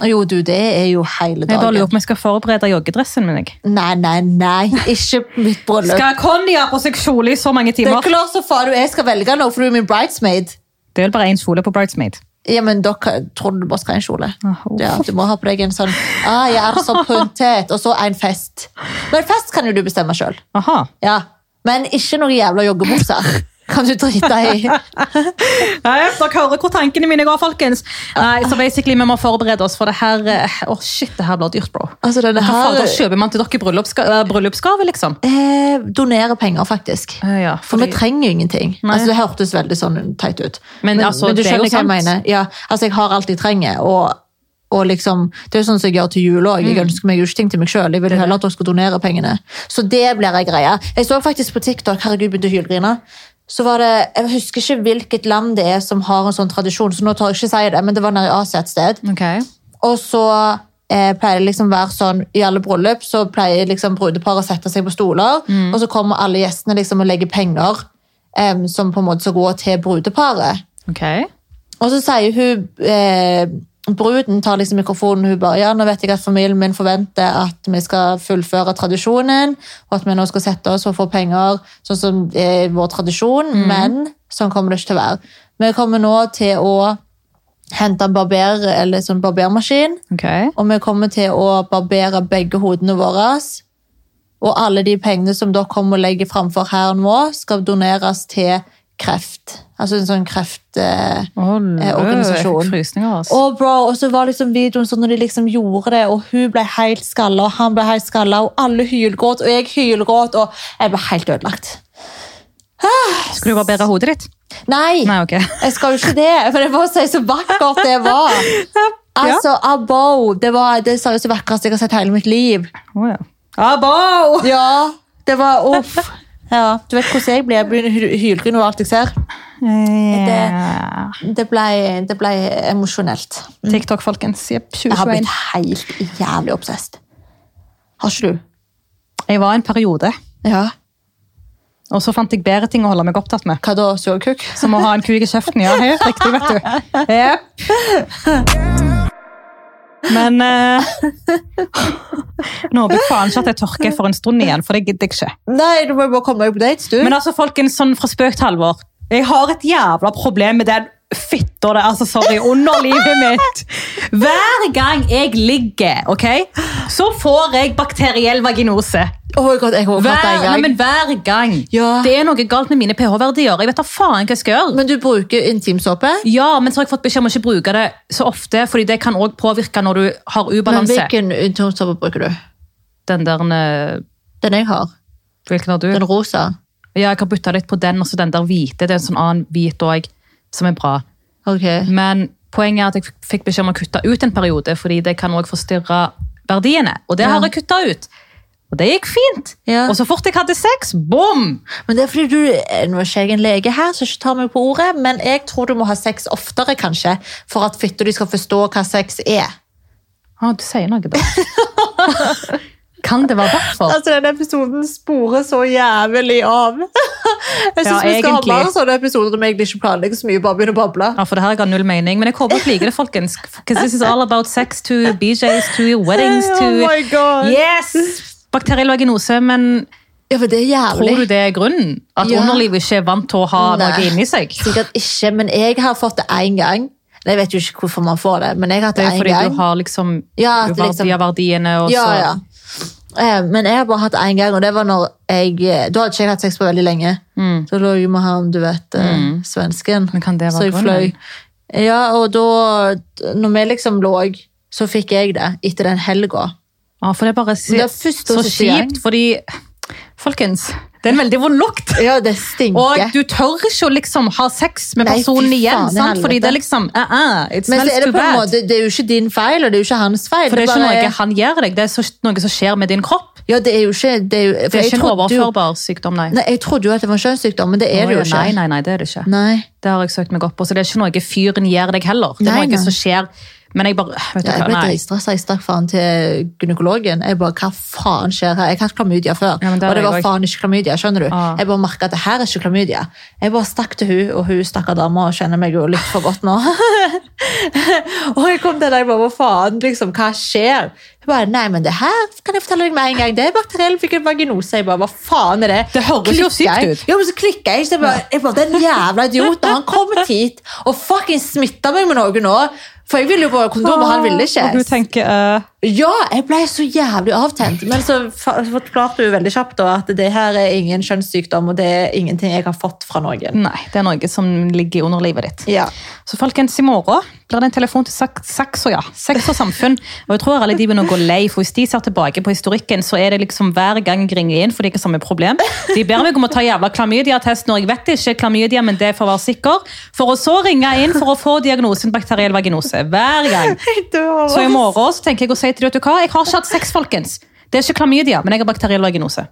Jo, du, det er jo hele
Jeg bare lurer
dagen.
på om jeg skal forberede joggedressen min. jeg.
Nei, nei,
<laughs>
nei. Ikke mitt bryllup.
Skal Conny ha på seg kjole i så mange
Det er
timer?
klart så faen du jeg skal velge noe, for du er min bridesmaid.
Det er vel bare én kjole på Bridesmaid.
Ja, men dere tror du bare skal ha en kjole.
Aha.
Ja, du må ha på deg en sånn ah, 'Jeg er så pyntet', og så en fest. Men fest kan jo du bestemme sjøl.
Aha.
Ja. Men ikke noen jævla joggebukser. Kan du drite i?
Nei, dere hører hvor tankene mine går, folkens. Nei, så basically, Vi må forberede oss, for det her eh, Åh, shit, det her blir dyrt, bro. Hva
Altså, denne
faen, da
her
kjøper man til dere bryllupsga eh, bryllupsgave, liksom?
eh, donerer penger, faktisk.
Eh, Ja,
For vi
fordi-
trenger jo ingenting. Altså, det hørtes veldig sånn teit ut.
Men altså,
du
det er
skjønner
jo
hva jeg
sant.
mener. Ja, altså, jeg har alt jeg trenger. og og liksom, Det er jo sånn som jeg gjør til jul òg. Jeg
Mm.
ønsker meg jo ikke ting til meg sjøl. Jeg vil heller at dere skal donere pengene. Så det blir ei greie. Jeg så faktisk på TikTok, herregud, begynte å hylgrine. Så var det, Jeg husker ikke hvilket land det er som har en sånn tradisjon, så nå tør jeg ikke si det, men det var nede i Asia et sted.
Ok.
Og så eh, pleier det liksom være sånn, I alle bryllup så pleier liksom brudepar å sette seg på stoler, og så kommer alle gjestene liksom og legger penger em, som på en måte skal gå til brudeparet.
ok.
Og så sier hun eh, Bruden tar liksom mikrofonen hun bare, ja, nå vet jeg at familien min forventer at vi skal fullføre tradisjonen, og at vi nå skal sette oss og få penger, sånn som er vår tradisjon, men sånn kommer det ikke til å være. Vi kommer nå til å hente en barber, eller sånn barbermaskin,
ok.
og vi kommer til å barbere begge hodene våre. Og alle de pengene som dere kommer og legger framfor hæren vår, skal doneres til kreft. Altså en sånn kreft... Eh.
Åh, lø, jeg
organisasjon.
fikk frysninger, altså.
Og bro, og så var liksom videoen sånn når de liksom gjorde det, og hun ble helt skalla, og han ble helt skalla, og alle hylgråt, og jeg hylgråt, og jeg ble helt ødelagt.
Skal du barbere hodet ditt?
Nei!
Nei, <laughs> ok.
Jeg skal jo ikke det, for jeg må si så vakkert det var.
<laughs>
Altså, abo, det var det seriøst vakreste jeg har sett i hele mitt liv.
Åh, ja.
Abo! Ja, det var uff. Ja, du vet hvordan jeg blir, jeg begynner å hy- hylgrine over alt jeg ser.
Eh, Ja.
Det ble, det ble emosjonelt.
TikTok, folkens. Jepp,
Jeg har
2021.
blitt helt jævlig obsesst. Har ikke du?
Jeg var en periode,
Ja.
og så fant jeg bedre ting å holde meg opptatt med.
Hva da, surkuk?
Som å ha en kuk i kjeften. Ja, helt riktig, vet du. Jepp. Men eh, <laughs> Nå håper jeg faen ikke at jeg tørker for en stund igjen, for det gidder jeg ikke.
Nei, du må jo bare komme deg på dates, du.
Men altså, folkens, sånn fra spøk til alvor. Jeg har et jævla problem med den fitta der, altså, sorry, underlivet mitt. Hver gang jeg ligger, ok, så får jeg bakteriell vaginose.
Å, jeg har jeg har hatt det en
Hver, nei,
gang.
men hver gang.
Ja.
Det er noe galt med mine pH-verdier. Jeg vet da faen hva jeg skal gjøre.
Men du bruker intimsåpe?
Ja, men så har jeg fått beskjed om å ikke bruke det så ofte, fordi det kan også påvirke når du har
Men
ubalanse.
hvilken intimsåpe bruker du?
Den der, eh,
Den jeg har.
hvilken har du?
Den rosa.
Ja, jeg har bytta litt på den og så den der hvite. Det er en sånn annen hvit òg, som er bra.
Ok.
Men poenget er at jeg f- fikk beskjed om å kutte ut en periode, fordi det kan også forstyrre verdiene. Og det
Ja.
har jeg kutta ut. Og det gikk fint.
Ja.
Og så fort jeg hadde sex, bom!
Men det er fordi du Nå er ikke jeg en lege her, så ikke ta meg på ordet, men jeg tror du må ha sex oftere, kanskje, for at fitta di skal forstå hva sex er.
Å, Ah, du sier noe, da.
<laughs>
kan det være derfor?
Altså, Denne episoden sporer så jævlig av. <laughs> Jeg syns
Ja,
vi skal
egentlig.
ha mer sånne episoder om jeg egentlig ikke planlegger så mye, bare begynner å bable.
Ja, for det her ga null mening, men jeg håper dere liker det, folkens. Because this is all about sex to BJs to weddings to
Oh my God.
Yes! Bakteriell vaginose, men
Ja, for det er jævlig.
tror du det er grunnen? At
Ja.
underlivet ikke er vant til å ha noe
Nei.
inni seg?
Sikkert ikke, men jeg har fått det én gang. Jeg vet jo ikke hvorfor man får det, men jeg har hatt
Det
det
er
én
fordi
gang.
du har liksom
Ja, at
du var-
liksom-
via verdiene og
Ja,
så
ja. Eh, Men jeg har bare hatt én gang, og det var når jeg eh, Da hadde ikke jeg hatt sex på veldig lenge. Så lå jeg med han, du vet, eh, svensken.
Men kan det være
så jeg fløy.
grunnen?
Ja, og da Når vi liksom lå, så fikk jeg det etter den helga.
Ja, for det er bare si-
Men det er første og
så
siste gang.
kjipt, fordi Folkens, det er en veldig vond lukt!
Ja, det stinker.
Og du tør ikke å liksom ha sex med
Nei, fy
personen igjen,
faen i
sant? fordi
helvete.
det er liksom uh -uh, It
men så
smells
er
too
det, på en
bad.
måte, det er jo ikke din feil, og det er jo ikke hans feil.
For det er ikke
bare-
noe han gjør deg, det er så, noe som skjer med din kropp.
Ja, det er jo ikke Det er, jo, for
Det er
jeg
ikke en
trodde jo-
overførbar sykdom, nei.
Nei, Jeg trodde jo at det var en kjønnssykdom, men det er det jo
Å, ja,
ikke.
Nei, nei, nei, det er det ikke.
Nei.
Det har jeg søkt meg opp på, så det er ikke noe fyren gjør deg heller. Det er
Nei, nei.
noe som skjer, men jeg bare, vet du
Ja, jeg
hva,
ble
nei.
dritstressa. Jeg stakk faen til gynekologen. Jeg bare, hva faen skjer her? Jeg har hatt klamydia før,
Ja, men det
og det var
har jeg også.
faen ikke klamydia. skjønner du?
Ah.
Jeg bare merket at det her er ikke klamydia. Jeg bare stakk til hun, og hun stakkar dama og kjenner meg jo litt for godt nå. <laughs> og jeg kom til deg bare, hva faen, liksom, hva skjer? Hun bare, nei, men det her kan jeg fortelle deg med en gang. Det er bakteriell vaginose. Jeg bare, hva faen er det?
Det høres jo
Klikker
sykt
jeg?
ut.
Ja, men så klikker jeg ikke. Jeg bare, jeg bare den jævla idioten, han kom hit og fucking smittet meg med noe nå. For jeg ville jo på kondom, og han ville
Og du
ikke.
tenker, eh,
Ja, jeg ble så jævlig avtent. Men så fa- forklarte hun veldig kjapt da, at det her er ingen kjønnssykdom, og det er ingenting jeg har fått fra noen.
nei, det er noe som ligger i underlivet ditt.
Ja.
Så folkens, i morgen blir det en telefon til sak- Saks og ja, Saks og samfunn. Og jeg tror alle de begynner å gå lei, for hvis de ser tilbake på historikken, så er det liksom hver gang jeg ringer inn, for det er ikke samme problem. De ber meg om å ta jævla klamydia-test når jeg vet det ikke er klamydia, men det er for å være sikker. For å så ringe inn for å få diagnosen bakteriell vaginose. Hver gang. Så i morgen så tenker jeg å si til dem, vet du hva, jeg har ikke hatt sex, folkens. Det er ikke klamydia, men jeg har bakteriell vaginose.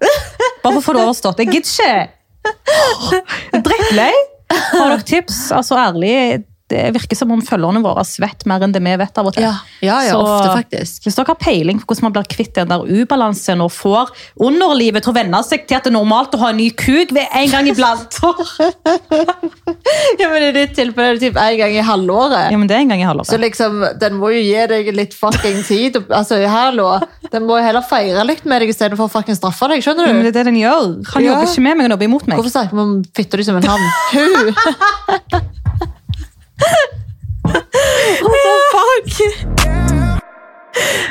Bare for å få det overstått. Jeg gidder ikke. Åh, Drittlei. Har dere tips? Altså ærlig, det virker som om følgerne våre vet mer enn det vi vet av og til.
Ja, ja, ja,
Så
ofte faktisk.
Hvis dere har peiling på hvordan man blir kvitt den der ubalansen og får underlivet til å venne seg til at det er normalt å ha en ny kuk ved en gang
<laughs>
iblant.
Ja, men i ditt tilfelle er det typ en gang i halvåret.
ja, men det er en gang i
Så
halvåret.
liksom, den må jo gi deg litt fucking tid. og- Altså, hallo. Den må jo heller feire litt med deg i stedet for å fucking straffe deg, skjønner du?
Men det er det den gjør. Han
Ja.
jobber ikke med meg, han jobber imot meg.
Hvorfor snakker vi om fitter du som en ham? Hu!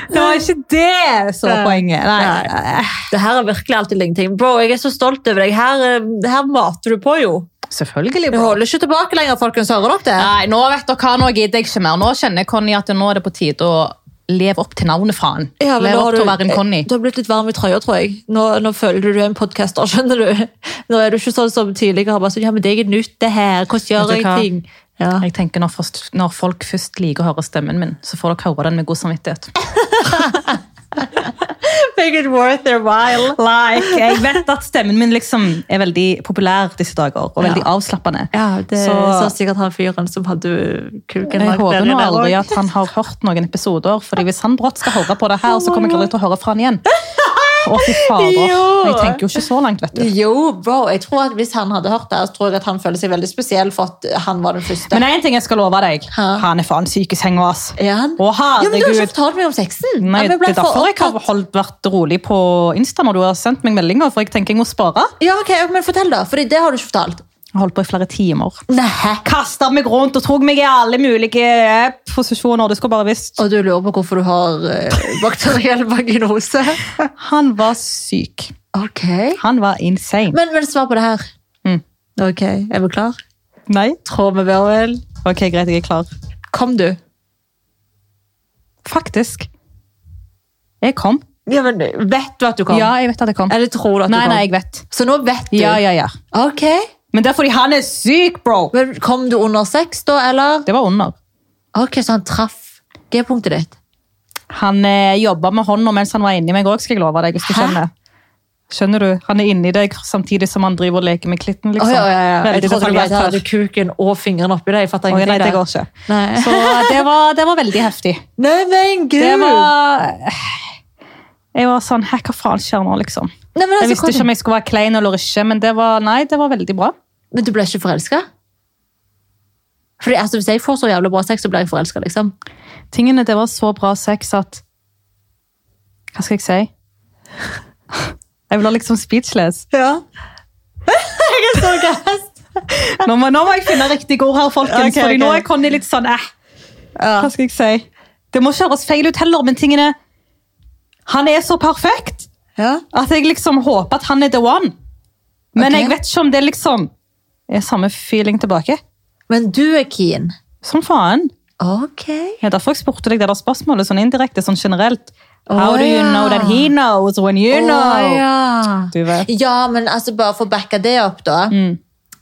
Det var ikke det som var
Nei.
poenget. Nei.
Det her er virkelig alltid ingenting. Bro, jeg er så stolt over deg. Her, eh, her mater du på, jo.
Selvfølgelig.
Du holder ikke tilbake lenger, folkens. Hører dere det?
Nei, nå vet dere hva, nå gidder jeg ikke mer. Nå kjenner Conny at nå er det på tide å leve opp til navnet, faen.
Ja, men nå
leve opp
har
til å være en Conny.
Du har blitt litt varm i trøya, tror jeg. Nå, nå føler du du er en podcaster, <laughs> skjønner du? Nå er du ikke sånn som tidligere. Bare sånn, ja, men det er ikke nytt, det her. Hvordan gjør
Vet du
jeg
hva?
ting? Ja.
Jeg tenker når, først, når folk først liker å høre stemmen min, så får dere høre den med god samvittighet.
<laughs> Make it worth their while.
Like, jeg vet at stemmen min liksom er veldig populær disse dager, og veldig
Ja.
avslappende.
Ja, det
Så-
sa sikkert han fyren som hadde kuken
Jeg
lagt
håper
nedi
nå
der
aldri
også.
at han har hørt noen episoder, fordi hvis han brått skal høre på det her, så kommer jeg aldri til å høre fra han igjen. Å, fy fader.
<laughs> Jo.
Jeg tenker jo ikke så langt, vet du.
Jo, bro, jeg tror at hvis han hadde hørt det, så tror jeg at han føler seg veldig spesiell for at han var den første.
Men én ting jeg skal love deg.
Hæ?
Han er faen syk i senga, ass.
Er han?
Å,
Ja, men du har ikke
herregud.
fortalt meg om sexen.
Nei,
Ja,
det
men ble
er derfor
for
jeg har
opptatt.
holdt, vært rolig på Insta når du har sendt meg meldinger, for jeg tenker jeg må spare.
Ja, ok, men fortell da, for det har du ikke fortalt.
Jeg har holdt på i flere timer.
Nei.
Kasta meg rundt og tok meg i alle mulige posisjoner. Du skulle bare visst.
Og du lurer på hvorfor du har eh, bakteriell vaginose.
Han var syk.
Ok.
Han var insane.
Men, men svar på det her.
Mm.
Ok, er vi klar?
Nei?
Tror vi vel vel.
Ok, greit, jeg er klar.
Kom du.
Faktisk. Jeg kom.
Ja, men Vet du at du kom?
Ja, jeg vet at jeg kom.
Eller tror du at
Nei,
du kom?
nei, jeg vet.
Så nå vet du?
Ja, ja, ja.
Ok.
Men det er fordi han er syk, bro!
Men kom du under sex, da, eller?
Det var under.
Ok, så han traff G-punktet ditt.
Han eh, jobba med hånda mens han var inni meg òg, skal jeg love deg. hvis du
Hæ?
Skjønner Skjønner du? Han er inni deg samtidig som han driver og leker med klitten. liksom.
Å, ja, ja, ja.
Veldig
Jeg trodde du
detaljert
bare hadde
her.
kuken og fingrene oppi deg. Jeg fatter
Å, ja, Nei,
ingenting
det
der.
går ikke.
Nei.
Så eh, det var, det var veldig heftig.
Nei, men gud!
Det var eh, Jeg var sånn Hæ, hva faen skjer nå, liksom?
Nei, men,
Jeg
altså,
visste ikke
kom-
om jeg skulle være klein eller ikke, men det var, nei, det var veldig bra.
men du ble ikke forelska? Fordi, altså, hvis jeg får så jævlig bra sex, så blir jeg forelska, liksom.
Tingene, det var så bra sex at Hva skal jeg si? <laughs> Jeg blir liksom speechless.
Ja. <laughs> jeg er så gass!
Nå må, nå må jeg finne riktig ord her, folkens.
Ok,
fordi
ok.
nå er Conny litt sånn eh,
Ja.
Hva skal jeg si? Det må ikke høres feil ut heller, men tingene Han er så perfekt
Ja.
at jeg liksom håper at han er the one. Men
Ok.
jeg vet ikke om det liksom er samme feeling tilbake.
Men du er keen.
Som faen.
Ok.
Ja, derfor jeg spurte deg det der spørsmålet sånn indirekte, sånn generelt. How
Å,
do you
ja.
know that he knows when you know?
Å, ja.
Du vet. Mm.
Ja, men altså, bare for å backe det opp, da.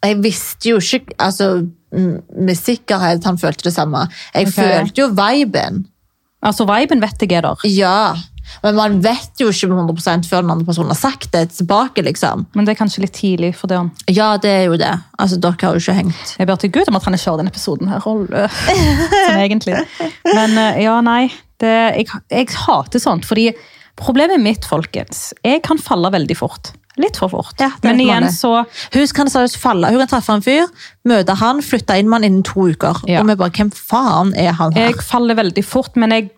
Jeg visste jo ikke altså, mm, med sikkerhet at han følte det samme. Jeg
Ok.
følte jo viben.
Altså, viben vet jeg er der.
Ja. Men man vet jo ikke med 100 før den andre personen har sagt det tilbake. liksom.
Men det er kanskje litt tidlig for det.
Ja, det er jo det. Altså, Dere har jo ikke hengt.
Jeg ber til Gud om at han ikke hører denne episoden her. Hold, øh, <laughs> sånn egentlig. Men øh, ja, nei. Det, jeg, jeg hater sånt, fordi problemet mitt, folkens, jeg kan falle veldig fort. Litt for fort.
Ja, det er
Men
helt
igjen
vanlig.
så
Hun kan seriøst falle. Hun kan treffe en fyr, møte han, flytte inn med han innen to uker.
Ja.
Og vi bare Hvem faen er han her?
Jeg faller veldig fort, men jeg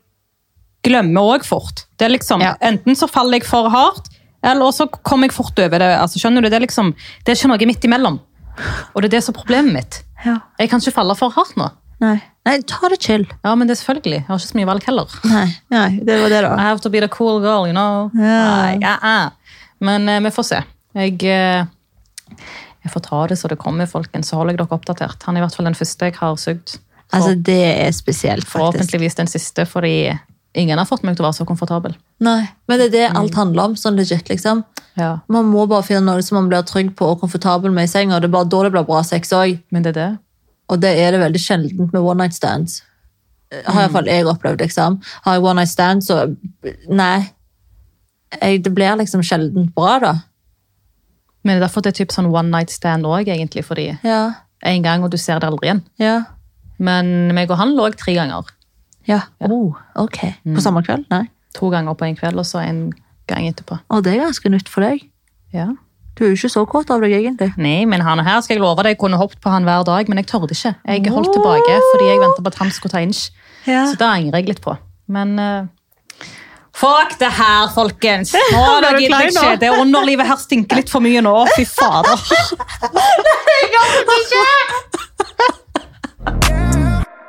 glemmer òg fort. Det er liksom,
Ja.
Enten så faller jeg for hardt, eller så kommer jeg fort over det. Altså, skjønner du? Det er, liksom, det er ikke noe midt imellom. Og det er det som er problemet mitt.
Ja.
Jeg kan ikke falle for hardt nå.
Nei. Nei, ta det chill.
Ja, men det er selvfølgelig. Jeg har ikke så mye valg heller.
Nei, nei, det var det,
I
da.
have to be the cool girl, you know.
Ja.
Nei, ja, ja. Men eh, vi får se. Jeg, eh, jeg får ta det så det kommer, folkens. Så holder jeg dere oppdatert. Han er i hvert fall den første jeg har sugd.
Altså, Det er spesielt, faktisk.
Forhåpentligvis den siste, fordi ingen har fått meg til å være så komfortabel.
Nei, Men det er det
Mm.
alt handler om. sånn legit, liksom.
Ja,
Man må bare finne noe som man blir trygg på og komfortabel med i senga. og Det er bare da det blir bra sex òg.
men det er det.
Og det er det veldig sjeldent med one night stands. Eh, Har iallfall jeg opplevd, liksom. Har jeg one night stand, så Nei. Jeg, det blir liksom sjeldent bra, da.
Men det er derfor det er typ sånn one night stand òg, egentlig. Fordi
Ja.
en gang, og du ser det aldri igjen.
Ja.
Men meg og han lå tre ganger.
ja. Oh, ok. På samme kveld? Nei.
To ganger på en kveld, og så en gang etterpå.
Å, det er ganske nytt for deg.
Ja.
Du er jo ikke så kåt av deg, egentlig.
Nei, men han her skal jeg love deg, jeg kunne hoppet på han hver dag, men jeg tørde ikke. Jeg holdt tilbake fordi jeg ventet på at han skulle ta inch.
Ja.
Så det angrer jeg litt på. Men eh, fuck det her, <laughs> folkens! Nå
Ble
det
du
gidder jeg
klein nå?
ikke. Det underlivet her stinker litt for mye nå. Fy fader. <laughs>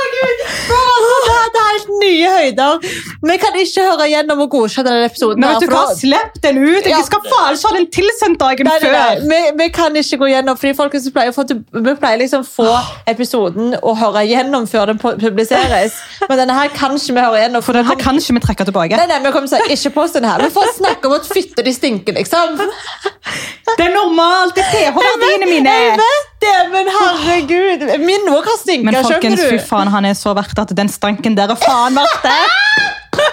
Det er helt nye høyder! Vi kan ikke høre gjennom og godkjenne den episoden.
Nå
her,
vet du
for
hva,
da-
slipp den ut!
Ja.
Jeg skal faen ikke ha den tilsendt dagen
Nei, nei,
før.
nei. Vi, vi kan ikke gå gjennom, fordi folkens, vi pleier, å få til- vi pleier liksom få episoden og høre gjennom før den pu- publiseres. Men denne her kan ikke vi høre gjennom. For
For den her kan ikke vi trekke tilbake.
Nei, nei, vi kommer til å si, ikke post den her. Vi får snakke om at fytte de stinker, liksom.
Det er normalt! Det er pH-verdiene mine!
Jeg vet det, men herregud. Min òg har
Men
stinka,
folkens,
skjønner
fy
du.
faen, han er så verdt at den stanken der er faen verdt <laughs> det!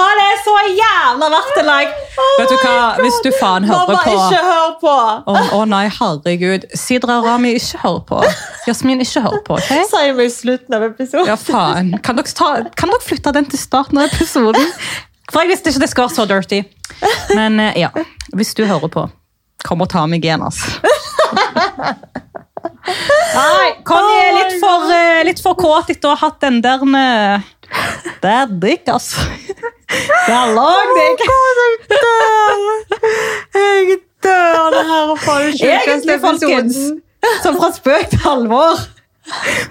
Han er så jævla verdt det! Like. Vet du hva, hvis du faen hører
Oh Mamma,
på
ikke hør på.
Å å nei, herregud. Sidra og Rami, ikke hør på. Jasmin, ikke hør på. ok?
Sier vi i slutten av episoden.
Ja, faen. Kan dere, ta, kan dere flytte den til starten av episoden? For jeg visste ikke det skulle være så dirty. Men eh, ja, hvis du hører på, kom og ta meg igjen, altså. Nei, Conny er litt for, eh, litt for kåt etter å ha hatt den der med Det er digg, altså. Det er lang digg.
Jeg
<laughs>
dør, det her er faen
Egentlig, folkens, sånn fra spøk til alvor,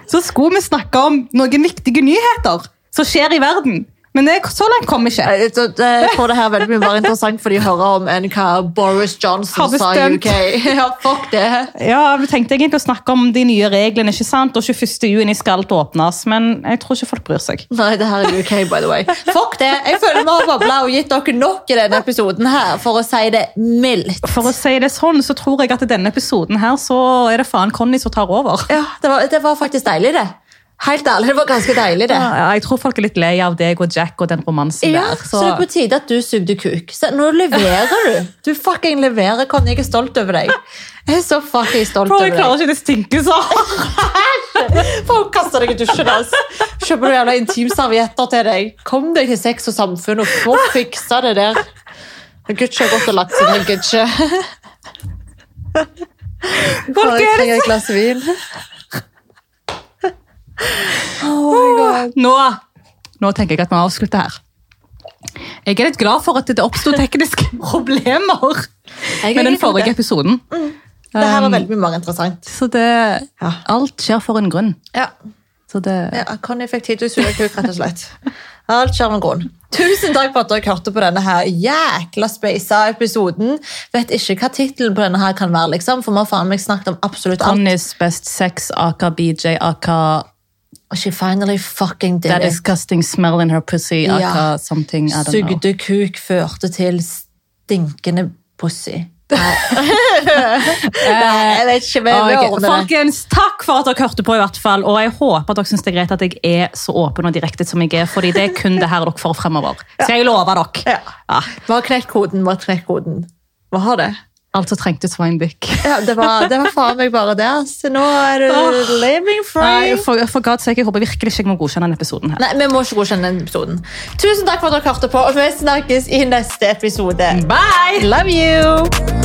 så skulle vi snakke om noen viktige nyheter som skjer i verden. Men det, så langt kom vi ikke.
Jeg, Eh, så, det- jeg tror det her er veldig mye mer interessant for de hører om enn hva Boris Johnson
Har
sa i
bestemt.
UK. <laughs> Ja, fuck det.
Ja, vi tenkte egentlig å snakke om de nye reglene, ikke sant? Og 21. juni skal alt åpnes, men jeg tror ikke folk bryr seg.
Nei, det her er UK, by the way. Fuck det! Jeg føler vi har babla og gitt dere nok i denne episoden her, for å si det mildt.
For å si det sånn, så tror jeg at i denne episoden her, så er det faen Conny som tar over.
Ja, det var, det var faktisk deilig, det. Helt ærlig, det var ganske deilig, det.
Ja, jeg tror folk er litt lei av deg og Jack og den romansen
Ja,
der.
så det er på tide at du sugde kuk. Se, nå leverer du. Du fucking leverer, Conny. Jeg er stolt over deg. Jeg er så fucking stolt
Bro,
over
jeg
deg.
klarer ikke, det stinker så
Folk kaster deg i dusjen. Altså. Kjøper du jævla intimservietter til deg. Kom deg til Sex og Samfunn og få fiksa det der. Gucci har gått og lagt seg ned. Gucci.
Folk
Jeg
er
trenger
det
et glass vin. Oh my god.
Nå, nå tenker jeg at vi avslutter her. Jeg er litt glad for at det oppstod tekniske <laughs> problemer
Jeg er
med den
litt glad.
forrige episoden. Um,
Det her var veldig mye mer interessant.
Så det,
Ja.
alt skjer for en grunn.
Ja,
Så det,
ja Conny fikk tid til å suge kuk, rett og slett. Alt skjer med grunn. Tusen takk for at dere hørte på denne her jækla speisa episoden. Vet ikke hva tittelen på denne her kan være, liksom, for vi har faen meg snakket om absolutt alt.
Connys best sex, aka BJ, aka
Og she finally fucking did
that
it.
disgusting smell in her pussy,
Ja.
aka something, I don't know.
Sugde kuk førte til stinkende <laughs> pussy. Nei, jeg vet ikke hva jeg
Og,
vil ordne det.
Ah, folkens, takk for at dere hørte på i hvert fall, og jeg håper dere synes det er greit at jeg er så åpen og direkte som jeg er, fordi det er kun det her dere får fremover. Skal jeg love dere? Ah.
Ja.
Ja.
Vi har knekt koden, vi har knekt koden. Vi har det.
Alt som trengtes var en dick.
Ja, det var, <laughs> det var faen meg bare det. Så nå er du
Åh.
living free.
Nei, for, for God's sake, jeg håper virkelig ikke jeg må godkjenne denne episoden her.
Nei, vi må ikke godkjenne den episoden. Tusen takk for at dere hørte på, og vi snakkes i neste episode.
Bye!
Love you!